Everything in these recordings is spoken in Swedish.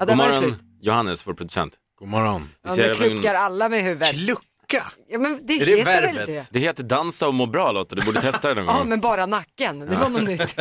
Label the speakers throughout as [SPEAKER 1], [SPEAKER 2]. [SPEAKER 1] Ja, det
[SPEAKER 2] God
[SPEAKER 1] var
[SPEAKER 2] morgon,
[SPEAKER 1] sjukt.
[SPEAKER 2] Johannes, vår producent.
[SPEAKER 3] God morgon.
[SPEAKER 2] Vi
[SPEAKER 1] Ja,
[SPEAKER 2] ser
[SPEAKER 1] nu
[SPEAKER 2] även-
[SPEAKER 1] kluckar alla med huvudet.
[SPEAKER 3] Klucka!
[SPEAKER 1] Ja, men det
[SPEAKER 3] Är det
[SPEAKER 1] heter väl
[SPEAKER 3] verbet?
[SPEAKER 1] det?
[SPEAKER 2] Det heter dansa och må bra Lotta, du borde testa det någon
[SPEAKER 1] Ja,
[SPEAKER 2] gång.
[SPEAKER 1] men bara nacken. Det var något nytt.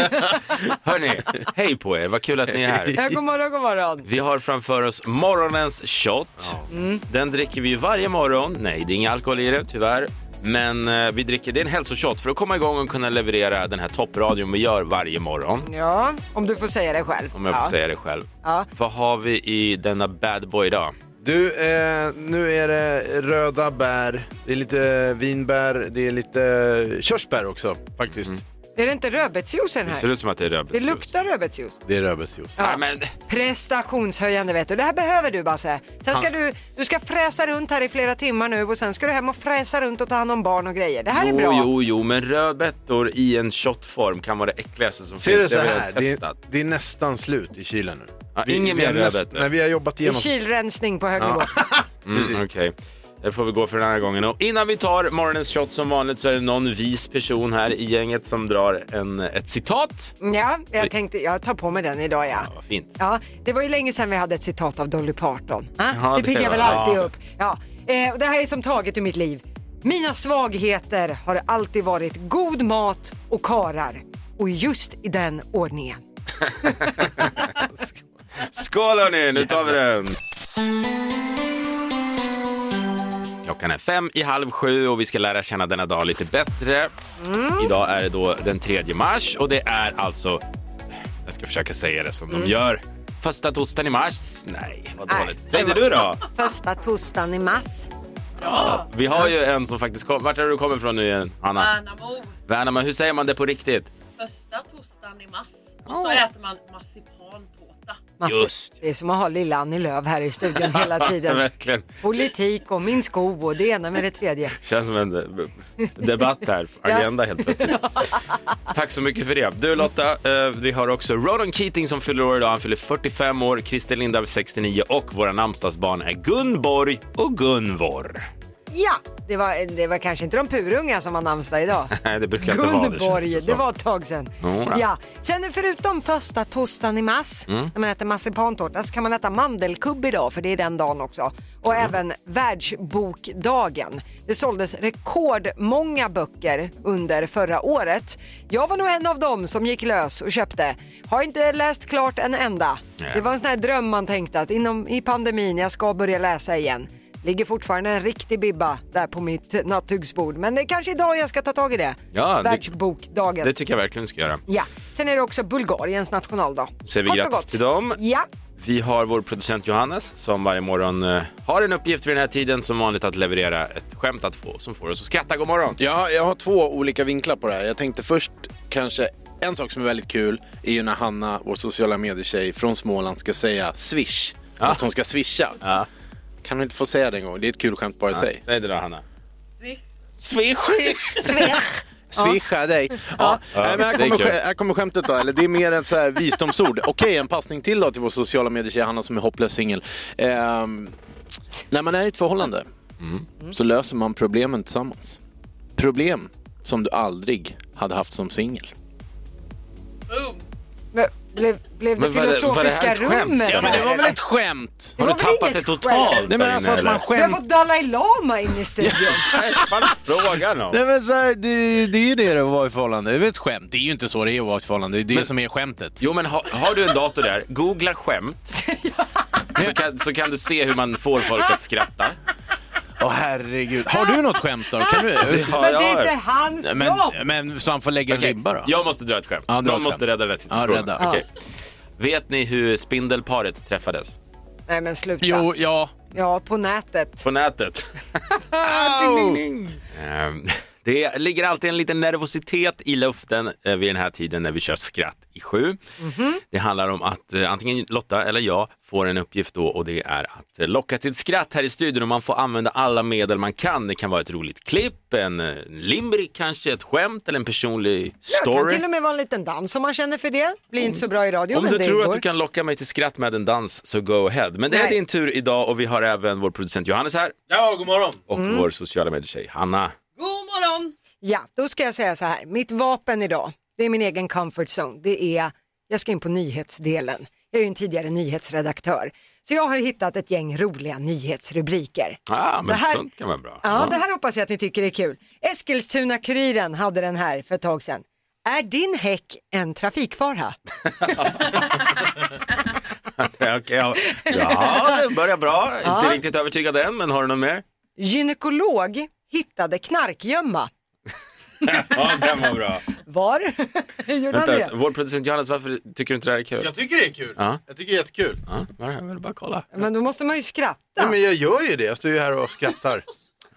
[SPEAKER 2] Hörni, hej på er, vad kul att ni är här.
[SPEAKER 1] Ja, god morgon, god morgon.
[SPEAKER 2] Vi har framför oss morgonens shot. Mm. Den dricker vi ju varje morgon. Nej, det är ingen alkohol i det, tyvärr. Men eh, vi dricker, det är en hälsoshot för att komma igång och kunna leverera den här toppradion vi gör varje morgon.
[SPEAKER 1] Ja, om du får säga det själv.
[SPEAKER 2] Om jag får
[SPEAKER 1] ja.
[SPEAKER 2] säga det själv.
[SPEAKER 1] Ja.
[SPEAKER 2] Vad har vi i denna bad boy idag?
[SPEAKER 3] Du, eh, nu är det röda bär, det är lite vinbär, det är lite körsbär också faktiskt.
[SPEAKER 4] Mm.
[SPEAKER 1] Är det inte rödbetsjuicen
[SPEAKER 2] Det ser
[SPEAKER 1] här?
[SPEAKER 2] ut som att det är
[SPEAKER 1] Det
[SPEAKER 2] rödbetsjuice.
[SPEAKER 1] luktar rödbetsjuice.
[SPEAKER 3] Det är rödbetsjuice.
[SPEAKER 2] Nej, men
[SPEAKER 1] Prestationshöjande vet du. Det här behöver du Basse. Sen ska du, du ska fräsa runt här i flera timmar nu och sen ska du hem och fräsa runt och ta hand om barn och grejer. Det här är
[SPEAKER 2] jo,
[SPEAKER 1] bra.
[SPEAKER 2] jo, jo, men rödbetor i en shotform kan vara det äckligaste som
[SPEAKER 3] Ser du
[SPEAKER 2] finns.
[SPEAKER 3] så
[SPEAKER 2] det har vi
[SPEAKER 3] här,
[SPEAKER 2] redan
[SPEAKER 3] det är,
[SPEAKER 2] testat.
[SPEAKER 3] det är nästan slut i kylen nu.
[SPEAKER 2] Ja, ingen
[SPEAKER 3] vi
[SPEAKER 2] mer
[SPEAKER 3] har näst-
[SPEAKER 2] rödbetor.
[SPEAKER 3] När vi har jobbat
[SPEAKER 1] Det är
[SPEAKER 3] igenom.
[SPEAKER 1] kylrensning på hög nivå.
[SPEAKER 2] Mm, Okej, det får vi gå för den här gången. Och innan vi tar morgonens shot som vanligt så är det någon vis person här i gänget som drar en, ett citat.
[SPEAKER 1] Ja, jag tänkte jag tar på mig den idag ja.
[SPEAKER 2] Ja, vad fint.
[SPEAKER 1] Ja, det var ju länge sedan vi hade ett citat av Dolly Parton. Ah,
[SPEAKER 2] Ja,
[SPEAKER 1] det
[SPEAKER 2] det
[SPEAKER 1] piggar
[SPEAKER 2] var-
[SPEAKER 1] väl alltid
[SPEAKER 2] ja.
[SPEAKER 1] upp. Ja, eh, och det här är som taget ur mitt liv. Mina svagheter har alltid varit god mat och karar. Och just i den ordningen.
[SPEAKER 2] Skål hörni, nu tar vi den! Klockan är fem i halv sju och vi ska lära känna denna dag lite bättre. Idag är det då den 3 mars och det är alltså, jag ska försöka säga det som de gör, första torsdagen i mars. Mm. Nej, vad
[SPEAKER 1] Nej.
[SPEAKER 2] dåligt. Säg det du då!
[SPEAKER 1] Första tostan i mass.
[SPEAKER 2] Ja, vi har ju en som faktiskt kom. Vart är du kommer ifrån nu igen, Anna?
[SPEAKER 5] Värnamo.
[SPEAKER 2] Värnamo, hur säger man det på riktigt?
[SPEAKER 5] Första torsdagen i mars. Och så äter man marsipantårta.
[SPEAKER 2] Just.
[SPEAKER 1] Det är som att ha lilla Annie Lööf här i studion hela tiden.
[SPEAKER 2] Verkligen.
[SPEAKER 1] Politik och min sko och det ena med det tredje.
[SPEAKER 2] Känns som en eh, debatt här på
[SPEAKER 1] Ja.
[SPEAKER 2] Agenda helt plötsligt. Tack så mycket för det. Du Lotta, eh, vi har också Ronan Keating som fyller år idag. Han fyller 45 år, Christer Lindarw 69 och våra namnsdagsbarn är Gunborg och Gunvor.
[SPEAKER 1] Ja, det var, det var kanske inte de purunga som har namnsdag idag.
[SPEAKER 2] Nej, det brukar inte vara det känns
[SPEAKER 1] Gunborg, det,
[SPEAKER 2] som.
[SPEAKER 1] var ett tag sedan.
[SPEAKER 2] Jodå.
[SPEAKER 1] Ja. Sen är förutom första tostan i mass, när man äter marsipantårta, så kan man äta mandelkubb idag för det är den dagen också. Och även världsbokdagen. Det såldes rekordmånga böcker under förra året. Jag var nog en av dem som gick lös och köpte. Har inte läst klart en enda.
[SPEAKER 2] Nej.
[SPEAKER 1] Det var en sån här dröm man tänkte att inom, i pandemin, jag ska börja läsa igen. Ligger fortfarande en riktig bibba där på mitt nattduksbord. Men det är kanske idag jag ska ta tag i det.
[SPEAKER 2] Ja, det-
[SPEAKER 1] Världsbokdagen.
[SPEAKER 2] Det tycker jag verkligen du ska göra.
[SPEAKER 1] Ja, sen är det också Bulgariens nationaldag.
[SPEAKER 2] Säger vi
[SPEAKER 1] Kort och
[SPEAKER 2] grattis
[SPEAKER 1] gott.
[SPEAKER 2] till dem.
[SPEAKER 1] Ja,
[SPEAKER 2] Vi har vår producent Johannes som varje morgon eh, har en uppgift vid den här tiden som vanligt att leverera ett skämt att få, som får oss att skratta. God morgon!
[SPEAKER 4] Ja, jag har två olika vinklar på det här. Jag tänkte först kanske en sak som är väldigt kul är ju när Hanna, vår sociala medier-tjej från Småland, ska säga swish. Att hon ska swisha.
[SPEAKER 2] Ja.
[SPEAKER 4] Kan hon inte få säga det en gång? Det är ett kul skämt bara i sig.
[SPEAKER 2] Säg det då Hanna.
[SPEAKER 5] Swish.
[SPEAKER 2] Swish!
[SPEAKER 1] Svech.
[SPEAKER 4] Swisha dig. Ja. Nej, men här,
[SPEAKER 2] det är
[SPEAKER 4] kommer,
[SPEAKER 2] kul.
[SPEAKER 4] sk- här kommer skämtet då, eller det är mer ett så här visdomsord. Okej, en passning till då till vår sociala medier-tjej Hanna som är hopplös singel. Ehm, när man är i ett förhållande så löser man problemen tillsammans. Problem som du aldrig hade haft som singel.
[SPEAKER 5] Boom!
[SPEAKER 1] Men Blev, blev det
[SPEAKER 2] Men var det- var det
[SPEAKER 1] filosofiska
[SPEAKER 2] här ett skämt?
[SPEAKER 1] rummet?
[SPEAKER 2] Ja,
[SPEAKER 4] Men det
[SPEAKER 1] här,
[SPEAKER 4] var väl
[SPEAKER 1] eller?
[SPEAKER 4] ett skämt?
[SPEAKER 2] Har du
[SPEAKER 1] Det var väl
[SPEAKER 2] tappat det
[SPEAKER 1] inget
[SPEAKER 2] totalt?
[SPEAKER 1] skämt?
[SPEAKER 4] Nej men alltså att man
[SPEAKER 1] Vi har
[SPEAKER 4] skämt...
[SPEAKER 1] fått Dalai Lama in i studion.
[SPEAKER 2] Vad är frågan om?
[SPEAKER 4] Nej men så här, det, det är ju det det är att vara i förhållande. Det är väl ett skämt? Det är ju inte så det är att vara i ett förhållande. Det är det som är skämtet.
[SPEAKER 2] Jo men har, har du en dator där, googla skämt. Så kan, så kan du se hur man får folk att skratta.
[SPEAKER 4] Åh herregud. Har du något skämt då? Kan du?
[SPEAKER 1] Men
[SPEAKER 2] har
[SPEAKER 1] det
[SPEAKER 2] jag
[SPEAKER 1] är inte
[SPEAKER 2] hört.
[SPEAKER 1] hans
[SPEAKER 4] Men,
[SPEAKER 1] jobb.
[SPEAKER 4] men så han får lägga en
[SPEAKER 2] Okej,
[SPEAKER 4] ribba då?
[SPEAKER 2] Jag måste dra ett skämt.
[SPEAKER 4] Ja, dra ett
[SPEAKER 2] Någon
[SPEAKER 4] skämt.
[SPEAKER 2] måste rädda den här situationen.
[SPEAKER 4] rädda.
[SPEAKER 2] Okej. Vet ni hur spindelparet träffades?
[SPEAKER 1] Nej men sluta.
[SPEAKER 4] Jo, ja.
[SPEAKER 1] Ja, på nätet.
[SPEAKER 2] På nätet. Ehm, Det ligger alltid en liten nervositet i luften eh, vid den här tiden när vi kör skratt i sju.
[SPEAKER 1] Mhm.
[SPEAKER 2] Det handlar om att eh, antingen Lotta eller jag får en uppgift då och det är att eh, locka till ett skratt här i studion och man får använda alla medel man kan. Det kan vara ett roligt klipp, en eh, limerick kanske, ett skämt eller en personlig
[SPEAKER 1] Det kan
[SPEAKER 2] story.
[SPEAKER 1] till och med vara en liten dans om man känner för det. Blir inte så bra i radio
[SPEAKER 2] Om
[SPEAKER 1] men
[SPEAKER 2] du
[SPEAKER 1] det
[SPEAKER 2] tror
[SPEAKER 1] går.
[SPEAKER 2] att du kan locka mig till skratt med en dans så go ahead. Men det är
[SPEAKER 1] Nej.
[SPEAKER 2] din tur idag och vi har även vår producent Johannes här
[SPEAKER 4] Ja, god morgon.
[SPEAKER 2] och
[SPEAKER 1] Mm.
[SPEAKER 2] vår sociala medier-tjej Hanna.
[SPEAKER 5] God morgon!
[SPEAKER 1] Ja, då ska jag säga så här. Mitt vapen idag, det är min egen comfort zone. Det är, jag ska in på nyhetsdelen. Jag är ju en tidigare nyhetsredaktör. Så jag har hittat ett gäng roliga nyhetsrubriker.
[SPEAKER 2] Ah, men
[SPEAKER 1] Det här-
[SPEAKER 2] sånt kan vara bra.
[SPEAKER 1] Ja, det här hoppas jag att ni tycker är kul. Eskilstuna-Kuriren hade den här för ett tag sedan. Är din häck en trafikfara?
[SPEAKER 2] Okej, ja. ja, det börjar bra. Inte riktigt övertygad än, men har du något mer?
[SPEAKER 1] Gynekolog hittade knarkgömma.
[SPEAKER 2] Ja, den var bra.
[SPEAKER 1] Var? Gjorde han
[SPEAKER 2] Vänta,
[SPEAKER 1] det?
[SPEAKER 2] vår producent Johannes, varför tycker du inte det här är kul?
[SPEAKER 3] Jag tycker det är kul.
[SPEAKER 2] Ja.
[SPEAKER 3] Jag tycker det är jättekul.
[SPEAKER 2] Ja, jag vill bara kolla.
[SPEAKER 1] Men då måste man ju
[SPEAKER 3] Nej,
[SPEAKER 1] skratta.
[SPEAKER 3] men jag gör ju det. Jag står ju här och skrattar.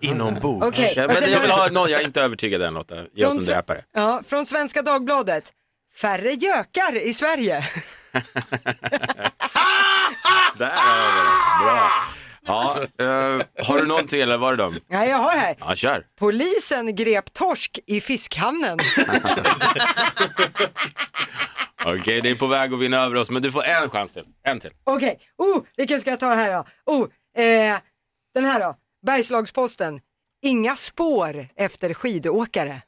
[SPEAKER 3] Inombords.
[SPEAKER 1] Okej,
[SPEAKER 2] Jag,
[SPEAKER 1] och
[SPEAKER 2] men,
[SPEAKER 1] sen-
[SPEAKER 2] jag vill ha någon, jag är inte övertygad än Lotta. Jag som
[SPEAKER 1] Från-
[SPEAKER 2] dräpare.
[SPEAKER 1] Ja, från Svenska Dagbladet. Färre gökar i Sverige.
[SPEAKER 2] Där har vi det. Bra. Ja, eh, har du någonting eller var det dem?
[SPEAKER 1] Ja, jag har här.
[SPEAKER 2] Ja, kör.
[SPEAKER 1] Polisen grep torsk i fiskhamnen.
[SPEAKER 2] Okej, det är på väg att vinna över oss, men du får en chans till. En till.
[SPEAKER 1] Okej, oh, vilken ska jag ta här då? Oh, eh, den här då. Bergslagsposten. Inga spår efter skidåkare.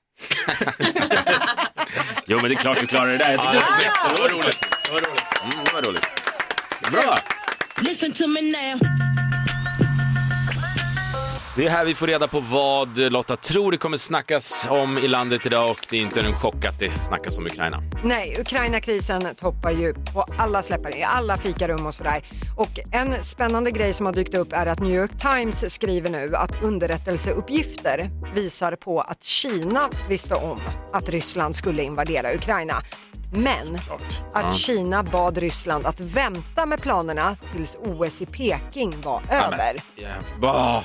[SPEAKER 2] Jo, men det är klart du klarar det där. Jag tycker det är jätte-
[SPEAKER 3] Det var roligt. Det var roligt.
[SPEAKER 2] mm, det var roligt. Bra!
[SPEAKER 6] Listen to me now.
[SPEAKER 2] Det är här vi får reda på vad Lotta tror det kommer snackas om i landet idag och det är inte en chock att det snackas om Ukraina.
[SPEAKER 1] Nej, Ukraina-krisen toppar ju på alla släppare, i alla fikarum och sådär. Och en spännande grej som har dykt upp är att New York Times skriver nu att underrättelseuppgifter visar på att Kina visste om att Ryssland skulle invadera Ukraina. Men att Kina bad Ryssland att vänta med planerna tills OS i Peking var över.
[SPEAKER 2] Bah.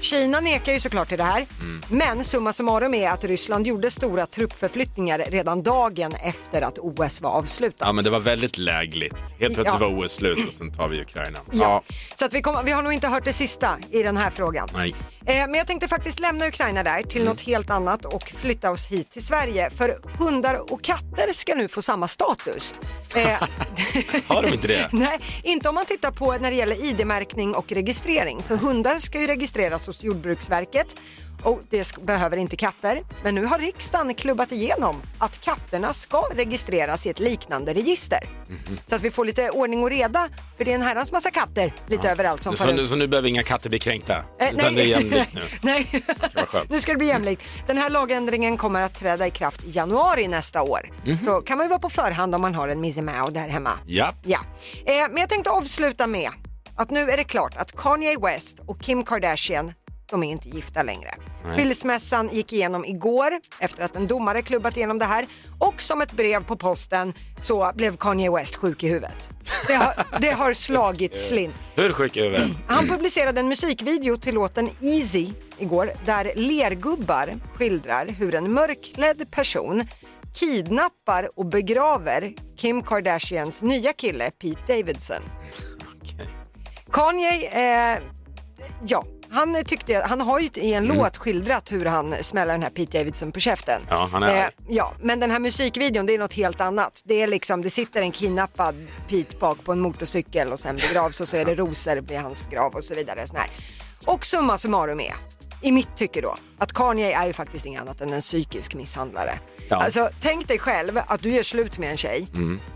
[SPEAKER 1] Kina nekar ju såklart till det här,
[SPEAKER 2] Mm.
[SPEAKER 1] men summa summarum är att Ryssland gjorde stora truppförflyttningar redan dagen efter att OS var avslutat.
[SPEAKER 2] Ja, men det var väldigt lägligt. Helt plötsligt
[SPEAKER 1] Ja.
[SPEAKER 2] var OS slut och sen tar vi Ukraina.
[SPEAKER 1] Ja. Så att vi, kommer- vi har nog inte hört det sista i den här frågan.
[SPEAKER 2] Nej. Mm.
[SPEAKER 1] Eh, men jag tänkte faktiskt lämna Ukraina där till något helt annat och flytta oss hit till Sverige. För hundar och katter ska nu få samma status. Eh,
[SPEAKER 2] Har de inte det?
[SPEAKER 1] Nej, inte om man tittar på när det gäller ID-märkning och registrering. För hundar ska ju registreras hos Jordbruksverket och det sk- behöver inte katter. Men nu har riksdagen klubbat igenom att katterna ska registreras i ett liknande register.
[SPEAKER 2] Mhm.
[SPEAKER 1] Så att vi får lite ordning och reda, för det är en herrans massa katter lite överallt som
[SPEAKER 2] Så
[SPEAKER 1] far
[SPEAKER 2] nu,
[SPEAKER 1] ut.
[SPEAKER 2] så nu behöver inga katter bli kränkta?
[SPEAKER 1] Eh,
[SPEAKER 2] utan det är jämlikt nu.
[SPEAKER 1] nej.
[SPEAKER 2] vad skönt.
[SPEAKER 1] nu ska det bli jämlikt. Den här lagändringen kommer att träda i kraft i januari nästa år.
[SPEAKER 2] Mhm.
[SPEAKER 1] Så kan man ju vara på förhand om man har en Mizzy Mao där hemma.
[SPEAKER 2] Ja.
[SPEAKER 1] Ja, eh, men jag tänkte avsluta med att nu är det klart att Kanye West och Kim Kardashian de är inte gifta längre. Skilsmässan gick igenom igår efter att en domare klubbat igenom det här och som ett brev på posten så blev Kanye West sjuk i huvudet. Det har, det har slagit slint.
[SPEAKER 2] Hur sjuk är vi?
[SPEAKER 1] Han publicerade en musikvideo till låten Easy igår där lergubbar skildrar hur en mörklädd person kidnappar och begraver Kim Kardashians nya kille Pete Davidson.
[SPEAKER 2] Okej.
[SPEAKER 1] Kanye, eh, ja, han, tyckte, han har ju i
[SPEAKER 2] Mm.
[SPEAKER 1] en låt skildrat hur han smäller den här Pete Davidson på käften. Eh,
[SPEAKER 2] Ja, han är arg.
[SPEAKER 1] ja, men den här musikvideon det är något helt annat. Det är liksom, det sitter en kidnappad Pete bak på en motorcykel och sen begravs och så är det rosor vid hans grav och så vidare. Sån här. Och summa summarum är, i mitt tycke då, att Kanye är ju faktiskt inget annat än en psykisk misshandlare.
[SPEAKER 2] Ja. Mm.
[SPEAKER 1] Alltså tänk dig själv att du gör slut med en tjej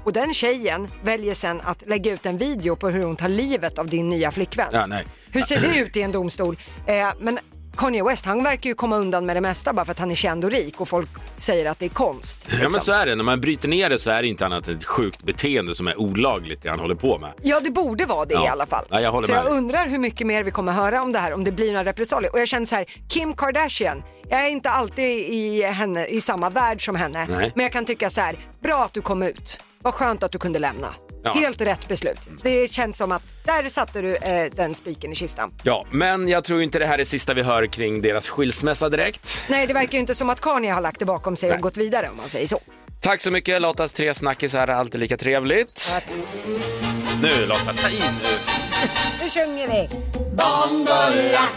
[SPEAKER 1] och den tjejen väljer sen att lägga ut en video på hur hon tar livet av din nya flickvän.
[SPEAKER 2] Ja, nej.
[SPEAKER 1] Hur ser det ut i en domstol? Eh, men Kanye West han verkar ju komma undan med det mesta bara för att han är känd och rik och folk säger att det är konst. liksom.
[SPEAKER 2] Ja men så är det, när man bryter ner det så är det inte annat än ett sjukt beteende som är olagligt det han håller på med.
[SPEAKER 1] Ja, det borde vara det
[SPEAKER 2] Ja.
[SPEAKER 1] i alla fall.
[SPEAKER 2] Ja, jag håller
[SPEAKER 1] så
[SPEAKER 2] med
[SPEAKER 1] jag
[SPEAKER 2] dig.
[SPEAKER 1] undrar hur mycket mer vi kommer höra om det här, om det blir några repressalier. Och jag känner så här, Kim Kardashian, jag är inte alltid i, henne, i samma värld som henne,
[SPEAKER 2] Nej.
[SPEAKER 1] men jag kan tycka så här, bra att du kom ut. Vad skönt att du kunde lämna.
[SPEAKER 2] Ja.
[SPEAKER 1] Helt rätt beslut. Det känns som att där satte du eh, den spiken i kistan.
[SPEAKER 2] Ja, men jag tror inte det här är sista vi hör kring deras skilsmässa direkt.
[SPEAKER 1] Nej, det verkar ju inte som att Kanye har lagt det bakom sig och gått vidare om man säger så.
[SPEAKER 2] Tack så mycket Lottas tre snackisar, alltid lika trevligt.
[SPEAKER 1] Tack.
[SPEAKER 2] Nu Lotta, ta i nu.
[SPEAKER 1] Nu sjunger vi!
[SPEAKER 6] Bongo la,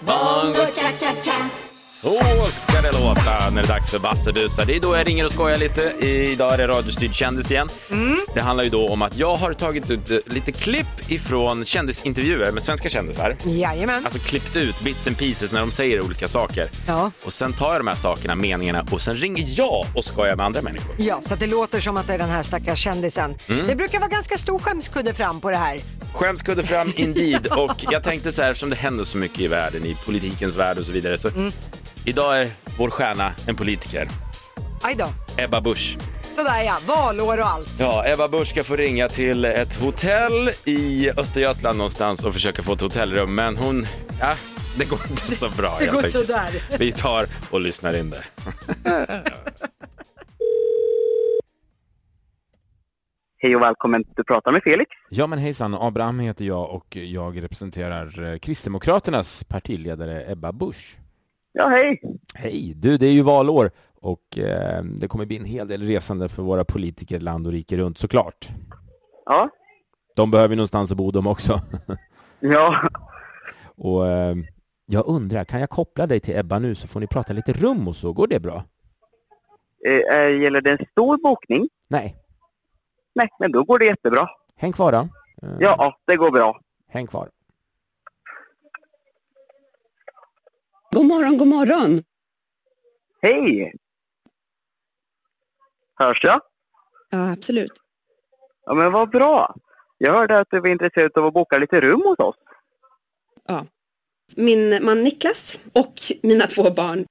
[SPEAKER 6] bongo cha cha cha.
[SPEAKER 2] Så ska det låta när det är dags för Bassebusar. Det är då jag ringer och skojar lite. Idag är det radiostyrd kändis igen.
[SPEAKER 1] Mm.
[SPEAKER 2] Det handlar ju då om att jag har tagit ut eh, lite klipp ifrån kändisintervjuer med svenska kändisar.
[SPEAKER 1] Jajamän.
[SPEAKER 2] Alltså klippt ut bits and pieces när de säger olika saker.
[SPEAKER 1] Ja.
[SPEAKER 2] Och sen tar jag de här sakerna, meningarna och sen ringer jag och skojar med andra människor.
[SPEAKER 1] Ja, så att det låter som att det är den här stackars kändisen.
[SPEAKER 2] Mm.
[SPEAKER 1] Det brukar vara ganska stor skämskudde fram på det här.
[SPEAKER 2] Skämskudde fram indeed och jag tänkte så här eftersom det händer så mycket i världen, i politikens värld och så vidare. Så Idag är vår stjärna en politiker,
[SPEAKER 1] Aj då.
[SPEAKER 2] Ebba Busch.
[SPEAKER 1] Sådär ja, valår och allt.
[SPEAKER 2] Ja, Ebba Busch ska få ringa till ett hotell i Östergötland någonstans och försöka få ett hotellrum, men hon, ja, det går inte så bra.
[SPEAKER 1] det
[SPEAKER 2] helt
[SPEAKER 1] går
[SPEAKER 2] enkelt.
[SPEAKER 1] sådär.
[SPEAKER 2] Vi tar och lyssnar in det.
[SPEAKER 7] Hej och välkommen. Du pratar med Felix.
[SPEAKER 8] Ja men hejsan, Abraham heter jag och jag representerar eh, Kristdemokraternas partiledare Ebba Busch.
[SPEAKER 7] Ja, hej.
[SPEAKER 8] Hej! Du, det är ju valår och eh, det kommer bli en hel del resande för våra politiker land och rike runt såklart.
[SPEAKER 7] Ja,
[SPEAKER 8] De behöver ju någonstans att bo de också.
[SPEAKER 7] ja,
[SPEAKER 8] och eh, jag undrar, kan jag koppla dig till Ebba nu så får ni prata lite rum och så, går det bra?
[SPEAKER 7] eh, eh, gäller det en stor bokning?
[SPEAKER 8] Nej,
[SPEAKER 7] Nej, men då går det jättebra.
[SPEAKER 8] häng kvar då. Eh,
[SPEAKER 7] Ja, det går bra.
[SPEAKER 8] Häng kvar.
[SPEAKER 9] God morgon, god morgon.
[SPEAKER 7] Hej! Hörs jag?
[SPEAKER 9] Ja, absolut.
[SPEAKER 7] Ja, men vad bra. Jag hörde att du var intresserad av att boka lite rum hos oss.
[SPEAKER 9] Min man Niklas och mina två barn.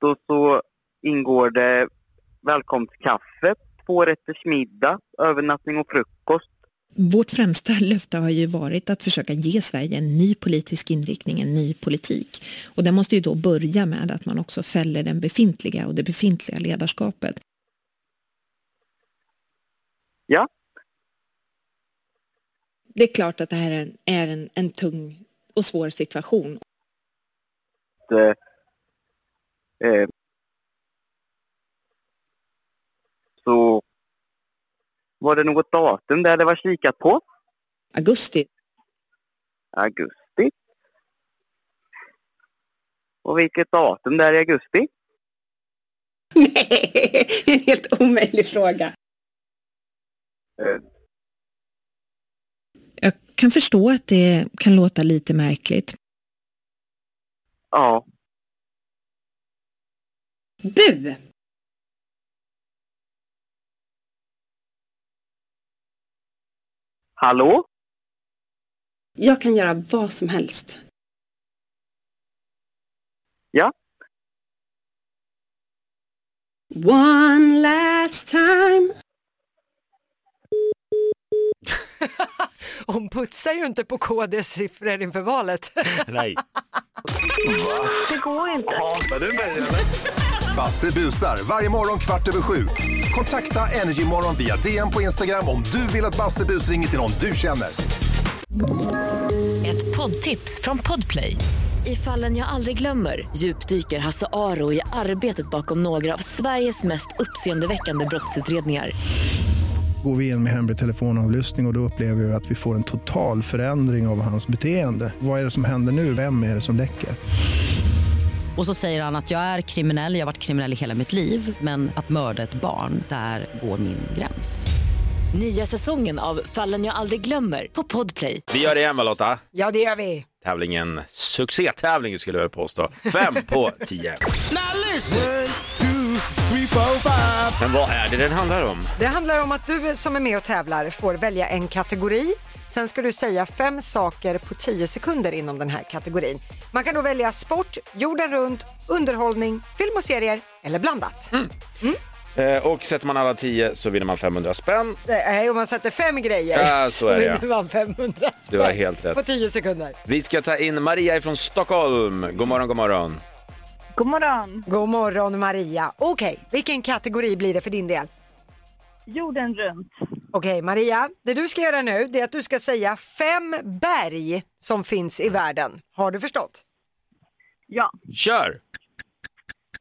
[SPEAKER 7] Då så ingår det välkomstkaffe, två rätters middag, övernattning och frukost.
[SPEAKER 10] Vårt främsta löfte har ju varit att försöka ge Sverige en ny politisk inriktning, en ny politik. Och det måste ju då börja med att man också fäller den befintliga och det befintliga ledarskapet.
[SPEAKER 9] Det är klart att det här är en, är en, en tung och svår situation.
[SPEAKER 7] Eh, eh, så var det något datum där det var kikat på?
[SPEAKER 9] Augusti,
[SPEAKER 7] augusti. Och vilket datum där i augusti?
[SPEAKER 9] nej, det är en helt omöjlig fråga.
[SPEAKER 7] Eh,
[SPEAKER 10] Jag kan förstå att det kan låta lite märkligt.
[SPEAKER 7] Ja,
[SPEAKER 9] Bu!
[SPEAKER 7] hallå?
[SPEAKER 9] Jag kan göra vad som helst.
[SPEAKER 7] Ja.
[SPEAKER 9] One last time.
[SPEAKER 1] Hon putsar ju inte på KDs siffror inför valet.
[SPEAKER 2] Nej.
[SPEAKER 11] Basse busar varje morgon kvart över sju. Kontakta Energymorgon via DM på Instagram om du vill att Basse bus ringer till någon du känner.
[SPEAKER 12] Ett poddtips från Podplay. I fallen jag aldrig glömmer djupdyker Hasse Aro i arbetet bakom några av Sveriges mest uppseendeväckande brottsutredningar.
[SPEAKER 13] Går vi in med hemlig telefonavlyssning och, och då upplever vi att vi får en total förändring av hans beteende. Vad är det som händer nu? Vem är det som läcker?
[SPEAKER 12] Och så säger han att jag är kriminell, jag har varit kriminell i hela mitt liv men att mörda ett barn, där går min gräns. Nya säsongen av Fallen jag aldrig glömmer på Podplay.
[SPEAKER 2] Vi gör det igen va Lotta?
[SPEAKER 1] ja, det gör vi.
[SPEAKER 2] Tävlingen, succétävlingen skulle jag vilja påstå. Fem på tio. Men vad är det den handlar om?
[SPEAKER 1] Det handlar om att du som är med och tävlar får välja en kategori. Sen ska du säga fem saker på tio sekunder inom den här kategorin. Man kan då välja sport, jorden runt, underhållning, film och serier eller blandat.
[SPEAKER 2] Mm. Eh, och sätter man alla tio så vinner man 500 spänn.
[SPEAKER 1] Det är Eh, om man sätter fem grejer
[SPEAKER 2] Ja, så är det, ja.
[SPEAKER 1] vinner man 500
[SPEAKER 2] Du har
[SPEAKER 1] spänn
[SPEAKER 2] helt rätt.
[SPEAKER 1] på tio sekunder.
[SPEAKER 2] Vi ska ta in Maria från Stockholm. God morgon, god morgon.
[SPEAKER 13] God morgon.
[SPEAKER 1] God morgon Maria. Okej, vilken kategori blir det för din del?
[SPEAKER 13] Jorden runt.
[SPEAKER 1] Okej Maria, det du ska göra nu det är att du ska säga fem berg som finns i världen. Har du förstått?
[SPEAKER 13] Ja.
[SPEAKER 2] Kör!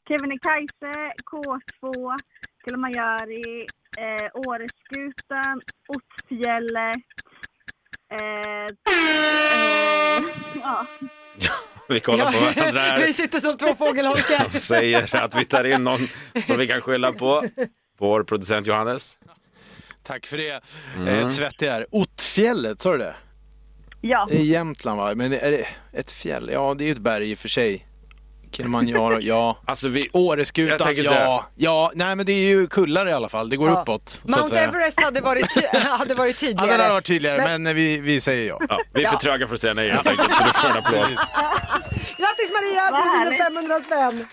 [SPEAKER 13] Kebnekaise, K2, Kilimanjari, eh, Åreskutan, Ottsfjället. Eh, eh, ja.
[SPEAKER 2] Vi kollar på varandra här
[SPEAKER 1] Vi sitter som två fågelholkar.
[SPEAKER 2] och säger att vi tar in någon som vi kan skylla på. Vår producent Johannes.
[SPEAKER 4] Tack för det.
[SPEAKER 2] Mm.
[SPEAKER 4] Jag är svettig här. Ottfjället, sa du det?
[SPEAKER 7] Ja.
[SPEAKER 4] Det är Jämtland va? Men är det ett fjäll? Ja, det är ju ett berg i och för sig. Kilimanjaro, ja.
[SPEAKER 2] Alltså vi...
[SPEAKER 4] Åreskutan,
[SPEAKER 2] Jag tänker så här-
[SPEAKER 4] ja. Ja, nej men det är ju kullar i alla fall. Det går
[SPEAKER 1] Ja.
[SPEAKER 4] uppåt, så att
[SPEAKER 1] Mount
[SPEAKER 4] säga.
[SPEAKER 1] Everest hade varit, ty- hade varit
[SPEAKER 4] Ja,
[SPEAKER 1] tydligare.
[SPEAKER 4] den hade varit tydligare, men, vi, vi säger ja.
[SPEAKER 2] ja vi är för
[SPEAKER 1] Ja.
[SPEAKER 2] tröga för att säga nej helt enkelt, så du får en applåd.
[SPEAKER 1] Grattis Maria,
[SPEAKER 7] Vad
[SPEAKER 1] du vinner
[SPEAKER 7] härligt.
[SPEAKER 1] 500 spänn.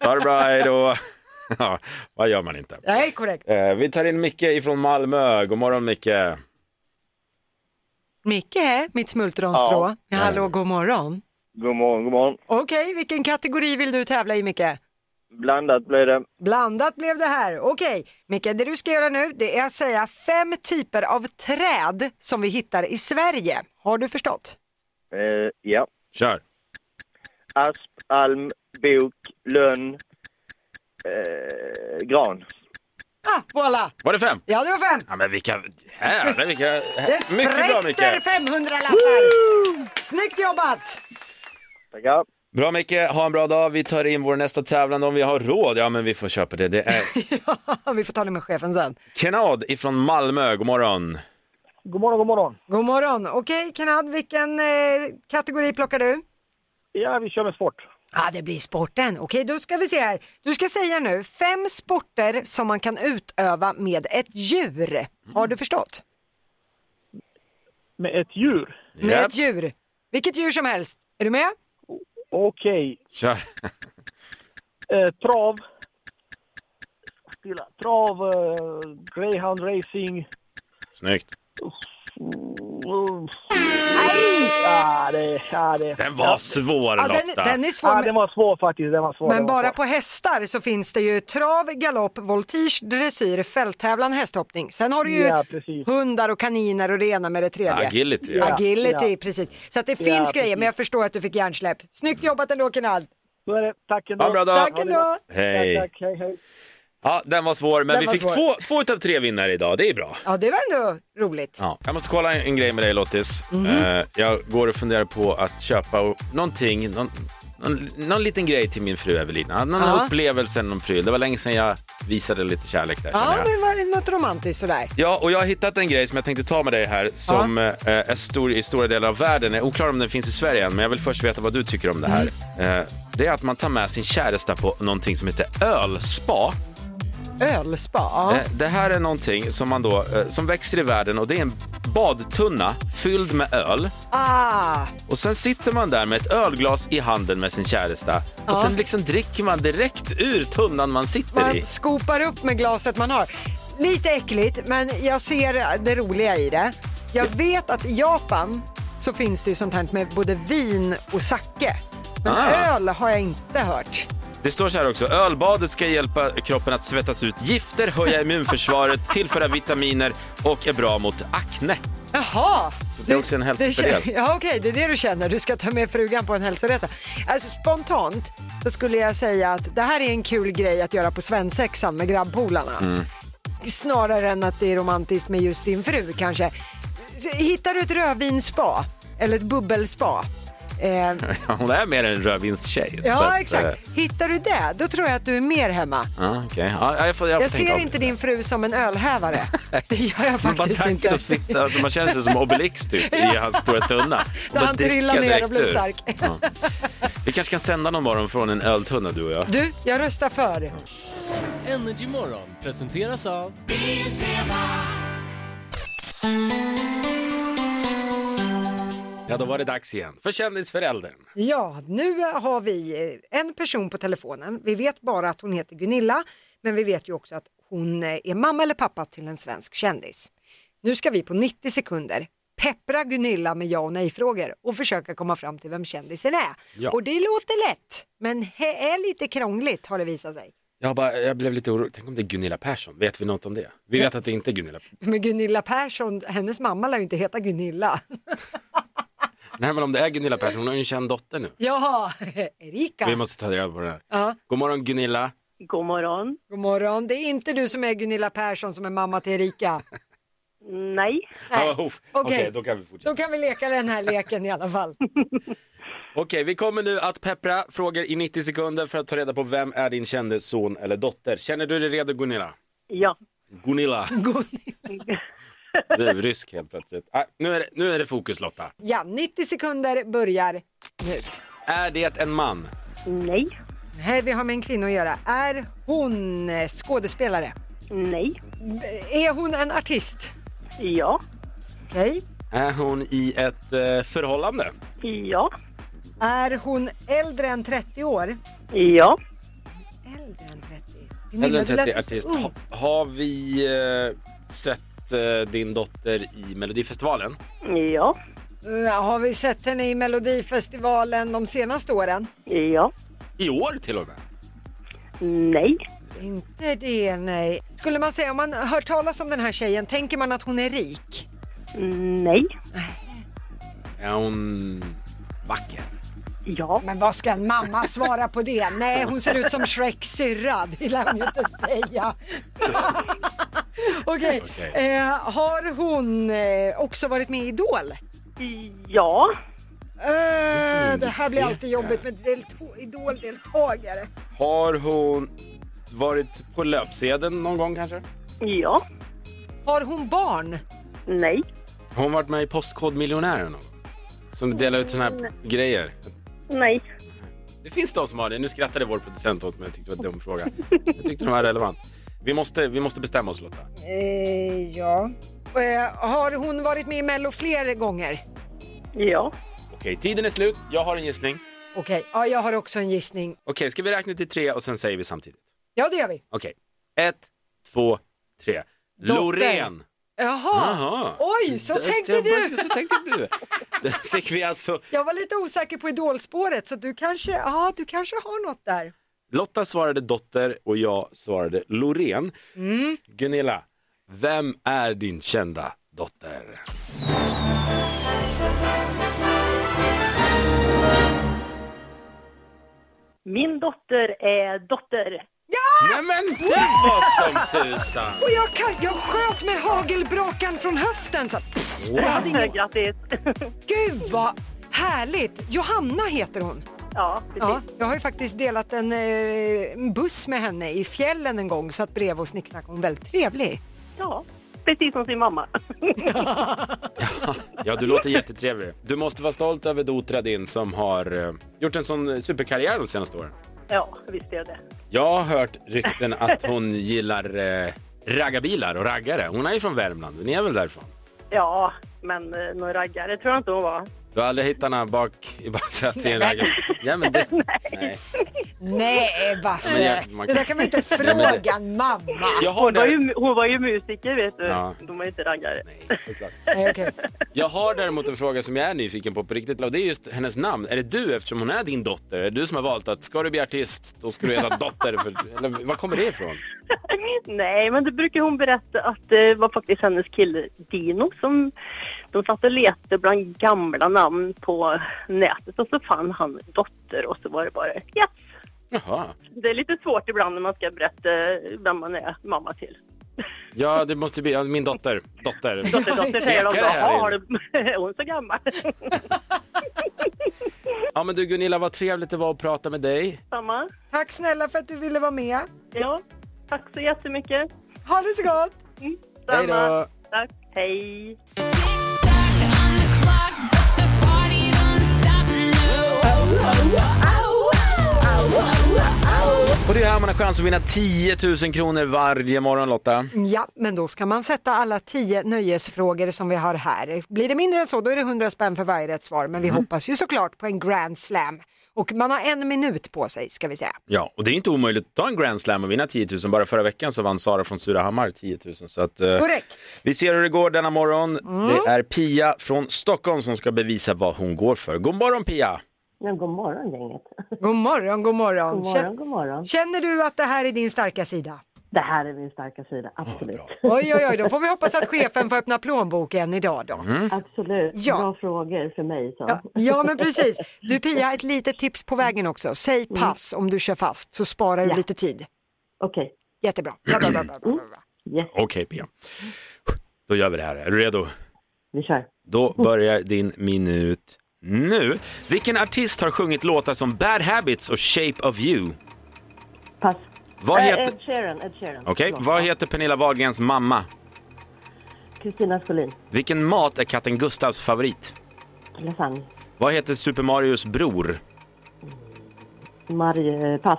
[SPEAKER 2] Ha det bra, hej då. Ja, vad gör man inte?
[SPEAKER 1] Nej, korrekt.
[SPEAKER 2] Eh, vi tar in Micke ifrån Malmö. God morgon Micke.
[SPEAKER 1] Micke, mitt smultronstrå.
[SPEAKER 2] Ja.
[SPEAKER 1] Hallå, god morgon.
[SPEAKER 14] God morgon, god morgon.
[SPEAKER 1] Okej, vilken kategori vill du tävla i Micke?
[SPEAKER 14] Blandat blir det.
[SPEAKER 1] Blandat blev det här. Okej, Micke, det du ska göra nu det är att säga fem typer av träd som vi hittar i Sverige. Har du förstått?
[SPEAKER 14] Eh, ja.
[SPEAKER 2] Kör.
[SPEAKER 14] Asp, alm, bok, lönn, eh, gran.
[SPEAKER 1] Ah, voilà!
[SPEAKER 2] Var det fem?
[SPEAKER 1] Ja, det var fem.
[SPEAKER 2] Ja, men vilka... Jävlar, vilka...
[SPEAKER 1] Det
[SPEAKER 2] Mycket bra
[SPEAKER 1] spräckte
[SPEAKER 2] Micke.
[SPEAKER 1] 500 lappar. Snyggt jobbat!
[SPEAKER 14] Tackar.
[SPEAKER 2] Bra Micke, ha en bra dag. Vi tar in vår nästa tävlande om vi har råd. Ja, men vi får köpa det. Det är
[SPEAKER 1] vi får ta det med chefen sen.
[SPEAKER 2] Kenad ifrån Malmö. God morgon.
[SPEAKER 1] God morgon, god morgon. God morgon. Okej, Kenad, vilken eh, kategori plockar du?
[SPEAKER 14] Ja, vi kör med sport.
[SPEAKER 1] Ja, det blir sporten. Okej, då ska vi se här. Du ska säga nu fem sporter som man kan utöva med ett djur. Har du förstått?
[SPEAKER 14] Med ett djur?
[SPEAKER 1] Med ett djur. Vilket djur som helst. Är du med?
[SPEAKER 14] Okej.
[SPEAKER 2] Kör.
[SPEAKER 14] Eh, trav. Stilla. Trav, eh, greyhound racing.
[SPEAKER 2] Snyggt.
[SPEAKER 14] Mm. Ja, Ah, det, ja, det.
[SPEAKER 2] Den var svår
[SPEAKER 1] Ja, den-
[SPEAKER 2] Lotta.
[SPEAKER 1] den är svår,
[SPEAKER 14] Ja,
[SPEAKER 1] men-
[SPEAKER 14] den var svår faktiskt. Den var svår.
[SPEAKER 1] Men
[SPEAKER 14] den var
[SPEAKER 1] bara
[SPEAKER 14] svår.
[SPEAKER 1] på hästar så finns det ju trav, galopp, voltige, dressyr, fälttävlan, hästhoppning. Sen har du ju
[SPEAKER 14] Ja, precis.
[SPEAKER 1] hundar och kaniner och det ena med det tredje.
[SPEAKER 2] Agility, ja.
[SPEAKER 1] Agility,
[SPEAKER 14] Ja.
[SPEAKER 1] precis. Så att det
[SPEAKER 14] Ja,
[SPEAKER 1] finns grejer,
[SPEAKER 14] precis.
[SPEAKER 1] men jag förstår att du fick hjärnsläpp. Snyggt jobbat ändå Kenald.
[SPEAKER 14] Så är det. Tack ändå.
[SPEAKER 2] Ha en bra dag.
[SPEAKER 1] Tack ändå.
[SPEAKER 2] Hej.
[SPEAKER 14] Tack, tack. Hej, hej.
[SPEAKER 2] Ja, den var svår, men
[SPEAKER 1] Den
[SPEAKER 2] vi
[SPEAKER 1] var
[SPEAKER 2] fick
[SPEAKER 1] svår.
[SPEAKER 2] två, två utav tre vinnare idag. Det är bra.
[SPEAKER 1] Ja, det var ändå roligt.
[SPEAKER 2] Ja. Jag måste kolla en, en grej med dig Lottis.
[SPEAKER 1] Mhm.
[SPEAKER 2] Eh, jag går och funderar på att köpa och- någonting, någon, någon, någon liten grej till min fru Evelina. Någon
[SPEAKER 1] Ja.
[SPEAKER 2] upplevelse, någon pryl. Det var länge sedan jag visade lite kärlek där känner
[SPEAKER 1] Ja,
[SPEAKER 2] jag.
[SPEAKER 1] men var det något romantiskt sådär.
[SPEAKER 2] Ja, och jag har hittat en grej som jag tänkte ta med dig här som eh, är stor i stora delar av världen. Jag är oklar om den finns i Sverige än, men jag vill först veta vad du tycker om det här.
[SPEAKER 1] Mm.
[SPEAKER 2] Eh, det är att man tar med sin käresta på någonting som heter ölspa.
[SPEAKER 1] Ölspa. Ja.
[SPEAKER 2] Eh, Det här är någonting som, man då, eh, som växer i världen och det är en badtunna fylld med öl.
[SPEAKER 1] Ah,
[SPEAKER 2] Och sen sitter man där med ett ölglas i handen med sin käresta och
[SPEAKER 1] Ja.
[SPEAKER 2] sen liksom dricker man direkt ur tunnan man sitter
[SPEAKER 1] man
[SPEAKER 2] i.
[SPEAKER 1] skopar upp med glaset man har. Lite äckligt, men jag ser det roliga i det. Jag vet att i Japan så finns det ju sånt här med både vin och sake. Men
[SPEAKER 2] Ah.
[SPEAKER 1] öl har jag inte hört.
[SPEAKER 2] Det står så här också, ölbadet ska hjälpa kroppen att svettas ut gifter, höja immunförsvaret, tillföra vitaminer och är bra mot akne.
[SPEAKER 1] Jaha!
[SPEAKER 2] Så det är också en hälsofördel.
[SPEAKER 1] kän- ja, okej, det är det du känner. Du ska ta med frugan på en hälsoresa. Alltså, spontant så skulle jag säga att det här är en kul grej att göra på svensexan med grabbpolarna.
[SPEAKER 2] Mm.
[SPEAKER 1] Snarare än att det är romantiskt med just din fru kanske. Så Hittar du ett rödvinspa eller ett bubbelspa? Eh,
[SPEAKER 2] Hon är mer en rödvinstjej. så att,
[SPEAKER 1] ja,
[SPEAKER 2] eh,
[SPEAKER 1] exakt. Hittar du det, då tror jag att du är mer hemma.
[SPEAKER 2] Ja, okej. ja, jag får, jag får
[SPEAKER 1] Jag
[SPEAKER 2] tänka
[SPEAKER 1] ser
[SPEAKER 2] om.
[SPEAKER 1] inte din fru som en ölhävare. Det gör jag
[SPEAKER 2] Men bara
[SPEAKER 1] faktiskt
[SPEAKER 2] tanken
[SPEAKER 1] inte.
[SPEAKER 2] att sitta, alltså man känner sig som Obelix typ, i hans stora tunna. Och
[SPEAKER 1] Där
[SPEAKER 2] bara
[SPEAKER 1] han trillar
[SPEAKER 2] dricka
[SPEAKER 1] ner och
[SPEAKER 2] direkt
[SPEAKER 1] blir
[SPEAKER 2] ur.
[SPEAKER 1] stark.
[SPEAKER 2] Ja. Vi kanske kan sända någon morgon från en öltunna du och jag.
[SPEAKER 1] Du, jag röstar för.
[SPEAKER 15] Energy Morgon presenteras av...
[SPEAKER 2] Ja, då var det dags igen för kändisföräldern.
[SPEAKER 1] Ja, nu har vi eh, en person på telefonen. Vi vet bara att hon heter Gunilla, men vi vet ju också att hon eh, är mamma eller pappa till en svensk kändis. Nu ska vi på 90 sekunder peppra Gunilla med ja och nej-frågor och försöka komma fram till vem kändisen är.
[SPEAKER 2] Ja.
[SPEAKER 1] Och det låter lätt, men det är lite krångligt har det visat sig.
[SPEAKER 2] Jag, bara, jag blev lite orolig, tänk om det är Gunilla Persson, vet vi något om det? Vi vet att det inte är Gunilla.
[SPEAKER 1] Men Gunilla Persson, hennes mamma lär ju inte heta Gunilla.
[SPEAKER 2] Nej men om det är Gunilla Persson, hon har ju en känd dotter nu.
[SPEAKER 1] Jaha, Erika.
[SPEAKER 2] Vi måste ta reda på det här.
[SPEAKER 1] Ja.
[SPEAKER 2] God morgon Gunilla.
[SPEAKER 1] God morgon. God morgon. Det är inte du som är Gunilla Persson som är mamma till Erika.
[SPEAKER 7] Nej.
[SPEAKER 2] Ja, uff. Oh, Okej, då kan vi fortsätta.
[SPEAKER 1] Då kan vi leka den här leken i alla fall.
[SPEAKER 2] Okej, vi kommer nu att peppra frågor i 90 sekunder för att ta reda på vem är din kände son eller dotter. Känner du dig redo Gunilla?
[SPEAKER 7] Ja.
[SPEAKER 2] Gunilla. Du är rysk helt plötsligt. Ah, nu, är det, nu är det fokus Lotta.
[SPEAKER 1] Ja, 90 sekunder börjar nu.
[SPEAKER 2] Är det en man?
[SPEAKER 7] Nej.
[SPEAKER 1] Nej, vi har med en kvinna att göra. Är hon eh, skådespelare?
[SPEAKER 7] Nej.
[SPEAKER 1] Är hon en artist?
[SPEAKER 7] Ja.
[SPEAKER 1] Okej.
[SPEAKER 2] Är hon i ett eh, förhållande?
[SPEAKER 7] Ja.
[SPEAKER 1] Är hon äldre än 30 år?
[SPEAKER 7] Ja.
[SPEAKER 2] Äldre än
[SPEAKER 1] du lät
[SPEAKER 2] 30
[SPEAKER 1] så
[SPEAKER 2] artist.
[SPEAKER 1] ung.
[SPEAKER 2] Ha, har vi eh, sett eh, din dotter i Melodifestivalen?
[SPEAKER 7] Ja.
[SPEAKER 1] Ja, Oh, eh, Har vi sett henne i Melodifestivalen de senaste åren?
[SPEAKER 7] Ja.
[SPEAKER 2] I år till och med?
[SPEAKER 7] Nej.
[SPEAKER 1] Inte det, nej. Skulle man säga, om man hör talas om den här tjejen, tänker man att hon är rik?
[SPEAKER 7] Nej.
[SPEAKER 2] Är hon vacker?
[SPEAKER 7] Ja.
[SPEAKER 1] Men vad ska en mamma svara på det? Nej, hon ser ut som Shreks syrra, det lär hon ju inte säga. Okej,
[SPEAKER 7] Okej.
[SPEAKER 1] eh, har hon eh, också varit med i Idol?
[SPEAKER 7] Ja.
[SPEAKER 1] Eh, det här blir alltid jobbigt med delto- Idol-deltagare.
[SPEAKER 2] Har hon varit på löpsedeln någon gång kanske?
[SPEAKER 7] Ja.
[SPEAKER 1] Har hon barn?
[SPEAKER 7] Nej.
[SPEAKER 2] Har hon varit med i Postkodmiljonären någon gång? Som delar ut såna här
[SPEAKER 1] Mm.
[SPEAKER 2] p- grejer.
[SPEAKER 7] Nej.
[SPEAKER 2] Det finns de som har det. Nu skrattade vår producent åt mig. Jag tyckte det var en dum fråga. Jag tyckte den var relevant. Vi måste, vi måste bestämma oss Lotta.
[SPEAKER 1] Eh, ja. Eh, har hon varit med i Mello fler gånger?
[SPEAKER 7] Ja.
[SPEAKER 2] Okej, tiden är slut. Jag har en gissning.
[SPEAKER 1] Okej, ja, jag har också en gissning.
[SPEAKER 2] Okej, ska vi räkna till tre och sen säger vi samtidigt?
[SPEAKER 1] Ja, det gör vi.
[SPEAKER 2] Okej, ett, två, tre.
[SPEAKER 1] Dotter.
[SPEAKER 2] Loreen!
[SPEAKER 1] Jaha,
[SPEAKER 2] Jaha.
[SPEAKER 1] oj, så
[SPEAKER 2] Det-
[SPEAKER 1] tänkte
[SPEAKER 2] jag
[SPEAKER 1] du.
[SPEAKER 2] började- Så tänkte du. Där fick vi alltså...
[SPEAKER 1] Jag var lite osäker på idolspåret så du kanske, ja, du kanske har något där.
[SPEAKER 2] Lotta svarade dotter och jag svarade Loreen.
[SPEAKER 7] Mm.
[SPEAKER 2] Gunilla, vem är din kända dotter?
[SPEAKER 7] Min dotter är dotter.
[SPEAKER 2] Ja! Nämen, det var som tusan!
[SPEAKER 1] Och jag, kan, jag sköt med hagelbrakan från höften. Så, pff,
[SPEAKER 2] Wow.
[SPEAKER 1] jag hade ingen...
[SPEAKER 7] Grattis!
[SPEAKER 1] Gud vad härligt! Johanna heter hon.
[SPEAKER 7] Ja,
[SPEAKER 1] ja, jag har ju faktiskt delat en, eh, en buss med henne i fjällen en gång, satt bredvid och snicknackade. Hon var väldigt trevlig.
[SPEAKER 7] Ja, precis som sin mamma.
[SPEAKER 2] Ja, du låter jättetrevlig. Du måste vara stolt över Dotra din som har eh, gjort en sån superkarriär de senaste åren.
[SPEAKER 7] Ja, visst är det.
[SPEAKER 2] Jag har hört rykten att hon gillar eh, raggarbilar och raggare. Hon är ju från Värmland, ni är väl därifrån?
[SPEAKER 7] Ja, men eh, någon raggare tror jag inte hon var.
[SPEAKER 2] Du har aldrig hittat henne bak i baksätet i en raggar... Ja, men det... Nej.
[SPEAKER 1] Nej, Basse!
[SPEAKER 2] Men jag- man
[SPEAKER 1] Det
[SPEAKER 2] kan-
[SPEAKER 1] där kan man inte
[SPEAKER 2] Nej, men det-
[SPEAKER 1] fråga en mamma.
[SPEAKER 2] Jag har
[SPEAKER 7] Hon var,
[SPEAKER 2] det-
[SPEAKER 7] ju, hon var ju musiker vet du.
[SPEAKER 2] Ja.
[SPEAKER 7] De var ju inte raggare.
[SPEAKER 1] Nej, okej.
[SPEAKER 2] Jag har däremot en fråga som jag är nyfiken på på riktigt och det är just hennes namn. Är det du eftersom hon är din dotter? Är det du som har valt att ska du bli artist då ska du heta dotter? För... Eller var kommer det ifrån?
[SPEAKER 7] Nej, men det brukar hon berätta att det var faktiskt hennes kille Dino som de satt och letade bland gamla namn på nätet och så fann han dotter och så var det bara ja.
[SPEAKER 2] Jaha.
[SPEAKER 7] Det är lite svårt ibland när man ska berätta vem man är mamma till.
[SPEAKER 2] Ja, det måste bli ja, min dotter. Dotter.
[SPEAKER 7] Dotter, dotter säger
[SPEAKER 2] Ekar
[SPEAKER 7] de
[SPEAKER 2] det
[SPEAKER 7] då.
[SPEAKER 2] här
[SPEAKER 7] "Ja,
[SPEAKER 2] in?
[SPEAKER 7] har du- Är hon så gammal?
[SPEAKER 2] Ja men du Gunilla, vad trevligt det var att prata med dig.
[SPEAKER 7] Samma.
[SPEAKER 1] Tack snälla för att du ville vara med.
[SPEAKER 7] Ja, tack så jättemycket.
[SPEAKER 1] Ha det så gott!
[SPEAKER 7] Mm,
[SPEAKER 2] Hej då.
[SPEAKER 7] samma. Tack, hej.
[SPEAKER 2] Och det är här man har chans att vinna 10 000 kronor varje morgon Lotta.
[SPEAKER 1] Ja, men då ska man sätta alla tio nöjesfrågor som vi har här. Blir det mindre än så, då är det 100 spänn för varje rätt svar. Men vi hoppas ju såklart på en grand slam. Och man har en minut på sig, ska vi säga.
[SPEAKER 2] Ja, och det är inte omöjligt att ta en grand slam och vinna 10 000. Bara förra veckan så vann Sara från Surahammar 10 000. Så att, eh,
[SPEAKER 1] Korrekt.
[SPEAKER 2] Vi ser hur det går denna morgon. Det är Pia från Stockholm som ska bevisa vad hon går för. God morgon Pia!
[SPEAKER 12] Men god morgon gänget.
[SPEAKER 1] God morgon, god morgon.
[SPEAKER 12] God morgon, god morgon.
[SPEAKER 1] Känner du att det här är din starka sida?
[SPEAKER 12] Det här är min starka sida, absolut.
[SPEAKER 1] Oj, oj, oj, då får vi hoppas att chefen får öppna plånboken idag då.
[SPEAKER 12] Mm.
[SPEAKER 2] Mm.
[SPEAKER 12] Absolut,
[SPEAKER 1] Ja.
[SPEAKER 12] bra frågor för mig. Så.
[SPEAKER 1] Ja, ja, men precis. Du Pia, ett litet tips på vägen också. Säg pass om du kör fast så sparar du
[SPEAKER 12] Mm. Ja.
[SPEAKER 1] lite tid.
[SPEAKER 12] Okej.
[SPEAKER 1] Jättebra. Bra, bra, bra, bra, bra.
[SPEAKER 2] Okej Pia. Då gör vi det här. Är du redo?
[SPEAKER 12] Vi kör.
[SPEAKER 2] Då börjar din minut nu. Vilken artist har sjungit låtar som Bad Habits och Shape of You?
[SPEAKER 12] Pass.
[SPEAKER 2] Vad
[SPEAKER 12] Eh,
[SPEAKER 2] heter,
[SPEAKER 12] Ed Sheeran. Ed Sheeran.
[SPEAKER 2] Okej,
[SPEAKER 12] Förlåt.
[SPEAKER 2] vad heter Pernilla Wahlgrens mamma?
[SPEAKER 12] Kristina Skolin.
[SPEAKER 2] Vilken mat är katten Gustavs favorit?
[SPEAKER 12] Lasagne.
[SPEAKER 2] Vad heter Super Marios bror?
[SPEAKER 12] Marie. eh, Pass.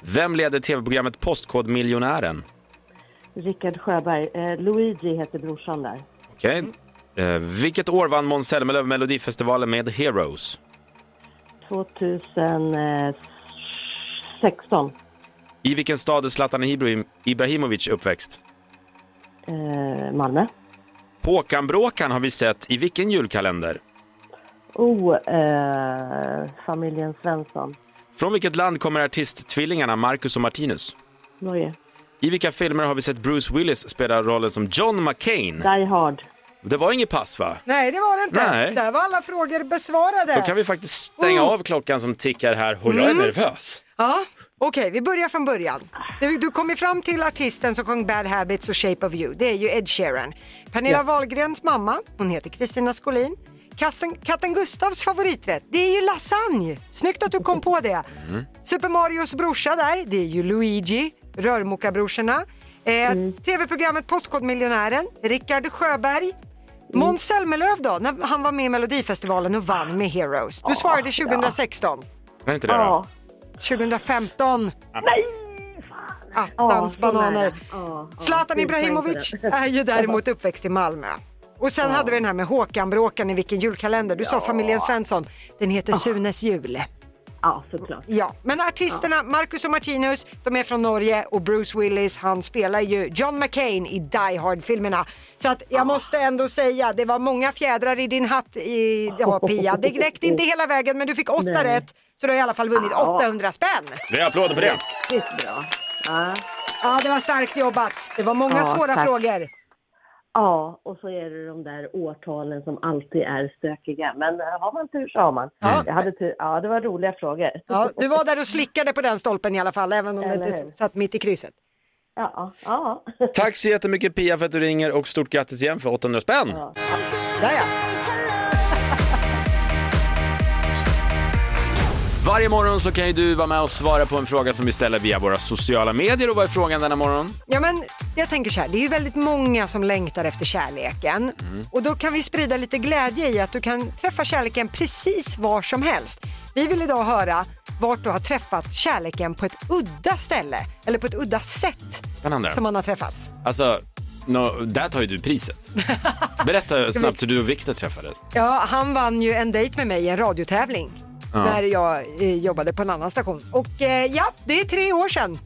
[SPEAKER 2] Vem leder tv-programmet Postkodmiljonären?
[SPEAKER 12] Rickard Sjöberg. Eh, Luigi heter brorsan där.
[SPEAKER 2] Okej. Eh, vilket år vann Måns Zelmerlöw Melodifestivalen med Heroes?
[SPEAKER 12] 2016.
[SPEAKER 2] I vilken stad är Zlatan Ibrahim- Ibrahimovic uppväxt?
[SPEAKER 12] Eh, Malmö.
[SPEAKER 2] Håkan Bråkan har vi sett i vilken julkalender?
[SPEAKER 12] Oh, eh, familjen Svensson.
[SPEAKER 2] Från vilket land kommer artisttvillingarna Marcus och Martinus?
[SPEAKER 12] Norge.
[SPEAKER 2] I vilka filmer har vi sett Bruce Willis spela rollen som John McCain?
[SPEAKER 12] Die Hard.
[SPEAKER 2] Det var inget pass va?
[SPEAKER 1] Nej, det var det inte.
[SPEAKER 2] Nej.
[SPEAKER 1] Där var alla frågor besvarade.
[SPEAKER 2] Då kan vi faktiskt stänga av klockan som tickar här och jag är
[SPEAKER 1] Mm.
[SPEAKER 2] nervös.
[SPEAKER 1] Ja, okej, vi börjar från början. Du, du kom ju fram till artisten som sjöng Bad Habits och Shape of You. Det är ju Ed Sheeran. Pernilla
[SPEAKER 12] Ja.
[SPEAKER 1] Wahlgrens mamma, hon heter Kristina Skolin. Katten, katten Gustavs favoriträtt, det är ju lasagne. Snyggt att du kom på det. Super Marios brorsa där, det är ju Luigi, rörmokarbrorsorna. Eh, Tv-programmet Postkodmiljonären, Rickard Sjöberg. Måns Zelmerlöw då, när han var med i Melodifestivalen och vann med Heroes. Du svarade 2016.
[SPEAKER 2] Är inte det då?
[SPEAKER 1] 2015. Nej! Attans
[SPEAKER 12] så
[SPEAKER 1] bananer.
[SPEAKER 12] nära. Ja, ja.
[SPEAKER 1] Zlatan
[SPEAKER 12] Det är
[SPEAKER 1] Ibrahimovic
[SPEAKER 12] poäng på det.
[SPEAKER 1] är ju däremot uppväxt i Malmö. Och sen hade vi den här med Håkan-bråkan i vilken julkalender. Du sa familjen Svensson. Den
[SPEAKER 12] Ah.
[SPEAKER 1] heter Sunes jul.
[SPEAKER 12] Ja, såklart.
[SPEAKER 1] Ja, men artisterna Marcus och Martinus, de är från Norge och Bruce Willis, han spelar ju John McCain i Die Hard-filmerna. Så att
[SPEAKER 12] Ah.
[SPEAKER 1] jag måste ändå säga, det var många fjädrar i din hatt i, ja, Pia. Det räckte inte hela vägen, men du fick åtta
[SPEAKER 12] Nej. Ah.
[SPEAKER 1] rätt. Så du har i alla fall vunnit 800 spänn.
[SPEAKER 2] Vi applåder på det.
[SPEAKER 12] Riktigt bra. Ja.
[SPEAKER 1] Ja, det var starkt jobbat. Det var många
[SPEAKER 12] Ja,
[SPEAKER 1] svåra
[SPEAKER 12] tack.
[SPEAKER 1] frågor.
[SPEAKER 12] Ja, och så är det de där årtalen som alltid är stökiga. Men eh, har man tur så har man.
[SPEAKER 1] Ja.
[SPEAKER 12] Jag hade tur. Ja, det var roliga frågor.
[SPEAKER 1] Ja, du var där och slickade på den stolpen i alla fall, även om
[SPEAKER 12] Eller
[SPEAKER 1] det
[SPEAKER 12] hur?
[SPEAKER 1] satt mitt i krysset.
[SPEAKER 12] Ja, ja.
[SPEAKER 2] Tack så jättemycket Pia för att du ringer och stort grattis igen för 800 spänn.
[SPEAKER 1] Där ja.
[SPEAKER 2] Varje morgon så kan ju du vara med och svara på en fråga som vi ställer via våra sociala medier. Och vad är frågan denna morgon?
[SPEAKER 1] Ja, men jag tänker så här, det är ju väldigt många som längtar efter kärleken
[SPEAKER 12] Mm.
[SPEAKER 1] och då kan vi sprida lite glädje i att du kan träffa kärleken precis var som helst. Vi vill idag höra vart du har träffat kärleken på ett udda ställe eller på ett udda sätt
[SPEAKER 2] Spännande.
[SPEAKER 1] som man har träffats.
[SPEAKER 2] Alltså, no, där tar ju du priset. Berätta snabbt hur du och Viktor träffades.
[SPEAKER 1] Ja, han vann ju en dejt med mig i en radiotävling
[SPEAKER 2] Ja.
[SPEAKER 1] när jag eh, jobbade på en annan station. Och eh, ja, det är tre år sedan.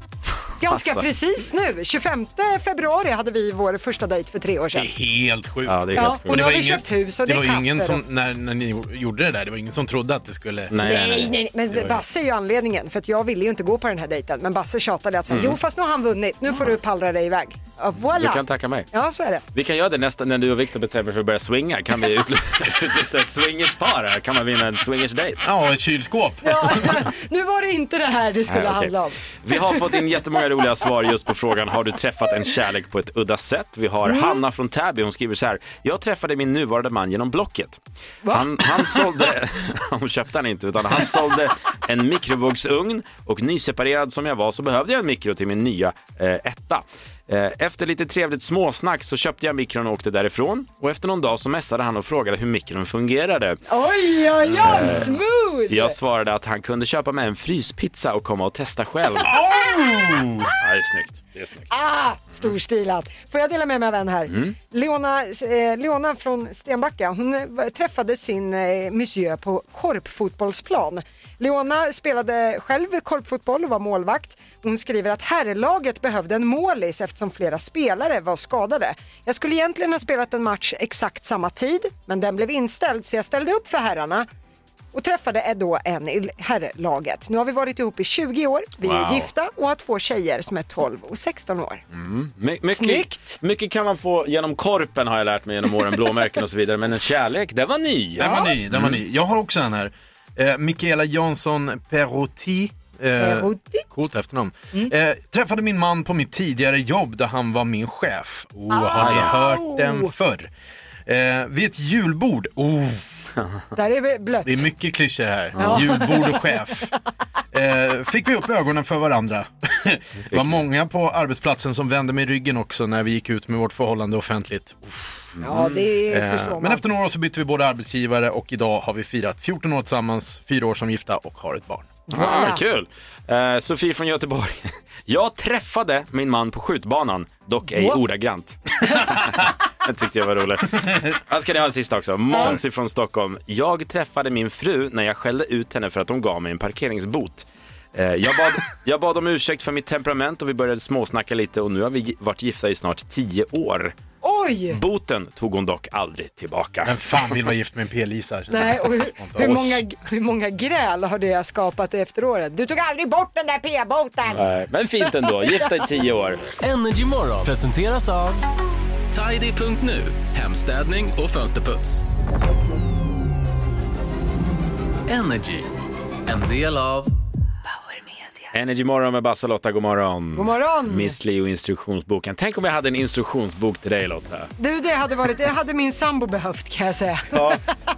[SPEAKER 1] Ganska
[SPEAKER 2] Alltså.
[SPEAKER 1] precis nu. 25 februari hade vi vår första dejt för tre år sedan.
[SPEAKER 16] Helt sjukt.
[SPEAKER 2] Ja,
[SPEAKER 1] det är helt Ja, sjukt. och nu har vi köpt hus och det
[SPEAKER 16] det
[SPEAKER 1] är
[SPEAKER 16] var ju ingen
[SPEAKER 1] katter
[SPEAKER 16] som,
[SPEAKER 1] och-
[SPEAKER 16] när, när ni gjorde det där, det var ingen som trodde att det skulle...
[SPEAKER 1] Nej, nej, nej.
[SPEAKER 16] Det var
[SPEAKER 1] Men
[SPEAKER 16] ju-
[SPEAKER 1] Basse är ju anledningen för att jag ville ju inte gå på den här dejten. Men Basse tjatade att säga,
[SPEAKER 2] Mm.
[SPEAKER 1] jo fast nu har han vunnit, nu får du pallra dig iväg. Ja, voilà.
[SPEAKER 2] Du kan tacka mig.
[SPEAKER 1] Ja, så är det.
[SPEAKER 2] Vi kan göra det nästa, när du och Viktor bestämmer för att börja swinga. Kan vi utly- utlysa ett swingerspar här? Kan man vinna en swingers-date?
[SPEAKER 16] Ja, ett kylskåp.
[SPEAKER 1] Nu var det inte det här det skulle
[SPEAKER 2] Nej, okej.
[SPEAKER 1] handla om.
[SPEAKER 2] Vi har fått in jättemånga roliga svar just på frågan har du träffat en kärlek på ett udda sätt? Vi har
[SPEAKER 1] Mm.
[SPEAKER 2] Hanna från Täby, hon skriver så här. Jag träffade min nuvarande man genom Blocket. Han, han sålde, hon köpte han inte, utan han sålde en mikrovågsugn och nyseparerad som jag var så behövde jag en mikro till min nya eh, etta. Eh, Efter lite trevligt småsnack så köpte jag mikron och åkte därifrån och efter någon dag så messade han och frågade hur mikron fungerade.
[SPEAKER 1] Oj, oj, oj,
[SPEAKER 2] Eh,
[SPEAKER 1] smooth!
[SPEAKER 2] Jag svarade att han kunde köpa med en fryspizza och komma och testa själv.
[SPEAKER 1] Oh!
[SPEAKER 2] Ja, det är snyggt. Det är snyggt.
[SPEAKER 1] Ah, storstilat. Får jag dela med mig av en här?
[SPEAKER 2] Mm.
[SPEAKER 1] Leona, eh, Leona från Stenbacka, hon eh, träffade sin eh, monsieur på korpfotbollsplan. Leona spelade själv korpfotboll och var målvakt. Hon skriver att herrlaget behövde en målis eftersom flera spelare var skadade. Jag skulle egentligen ha spelat en match exakt samma tid, men den blev inställd så jag ställde upp för herrarna och träffade eh, då en i herrlaget. Nu har vi varit ihop i 20 år, vi är
[SPEAKER 2] Wow.
[SPEAKER 1] gifta och har två tjejer som är 12 och 16 år.
[SPEAKER 2] Mm. My- mycket,
[SPEAKER 1] Snyggt.
[SPEAKER 2] Mycket kan man få genom korpen har jag lärt mig genom åren, blåmärken och så vidare. Men en kärlek, det var ny.
[SPEAKER 16] Den var ny, den var ny. Jag har också en här. Eh, Mikaela Jansson Perotti
[SPEAKER 4] Eh,
[SPEAKER 1] Ehud.
[SPEAKER 4] coolt efternamn.
[SPEAKER 1] Mm.
[SPEAKER 4] Eh, träffade min man på mitt tidigare jobb där han var min chef. Oh, Har ni
[SPEAKER 1] Ah. Au.
[SPEAKER 4] hört den förr? Eh, vid ett julbord. Oh.
[SPEAKER 1] Där är vi blött.
[SPEAKER 4] Det är mycket klyschor här.
[SPEAKER 1] Ja.
[SPEAKER 4] Julbord och chef. Eh, fick vi upp ögonen för varandra. Det var många på arbetsplatsen som vände mig ryggen också när vi gick ut med vårt förhållande offentligt.
[SPEAKER 1] Ja, det förstår man.
[SPEAKER 4] Eh, Men efter några år så bytte vi både arbetsgivare och idag har vi firat 14 år tillsammans, fyra år som gifta och har ett barn.
[SPEAKER 2] Ah, kul! Eh, Sofie från Göteborg. Jag träffade min man på skjutbanan, dock ej
[SPEAKER 4] What?
[SPEAKER 2] ordagrant. Det tyckte jag var roligt. Här ska ni ha en sista också. Måns från Stockholm. Jag träffade min fru när jag skällde ut henne för att hon gav mig en parkeringsbot. Eh, Jag bad, jag bad om ursäkt för mitt temperament och vi började småsnacka lite och nu har vi gi- varit gifta i snart tio år.
[SPEAKER 1] Oj!
[SPEAKER 2] Boten tog hon dock aldrig tillbaka. Men
[SPEAKER 4] fan vill vara gift med en P-Lisa?
[SPEAKER 1] Nej, och hur, hur, många, hur många gräl har det skapat efter året? Du tog aldrig bort den där p-boten!
[SPEAKER 2] Men fint ändå, gifta i tio år.
[SPEAKER 17] Energy Morgon presenteras av Tidy.nu, hemstädning och fönsterputs. Energy, en del av
[SPEAKER 2] Energy morgon med Bassa Lotta, god morgon.
[SPEAKER 1] God morgon!
[SPEAKER 2] Miss Leo instruktionsboken. Tänk om vi hade en instruktionsbok till dig Lotta.
[SPEAKER 1] Du, det hade varit, det hade min sambo behövt kan jag säga.
[SPEAKER 2] Ja,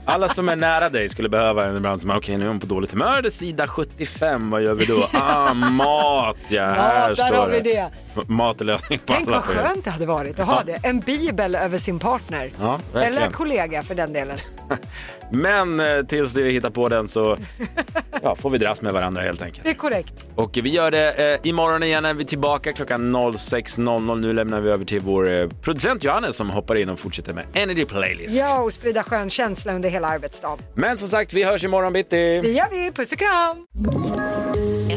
[SPEAKER 2] alla som är nära dig skulle behöva en ibland som, okej nu är hon på dåligt humör, det är sida 75, vad gör vi då? Ah, mat ja, här
[SPEAKER 1] där
[SPEAKER 2] står
[SPEAKER 1] har vi det.
[SPEAKER 2] M- Mat är lösning på
[SPEAKER 1] Tänk
[SPEAKER 2] alla
[SPEAKER 1] vad skönt det hade varit att ha det. En bibel över sin partner.
[SPEAKER 2] Ja, verkligen.
[SPEAKER 1] Eller kollega för den delen.
[SPEAKER 2] Men eh, tills vi hittar på den så ja, får vi dras med varandra helt enkelt.
[SPEAKER 1] Det är korrekt.
[SPEAKER 2] Och vi gör det eh, imorgon igen när vi är tillbaka klockan 06.00. Nu lämnar vi över till vår eh, producent Johannes som hoppar in och fortsätter med Energy Playlist.
[SPEAKER 1] Ja, och sprida skön känsla under hela arbetsdagen.
[SPEAKER 2] Men som sagt, vi hörs imorgon bitti.
[SPEAKER 1] Det gör vi. Puss och kram!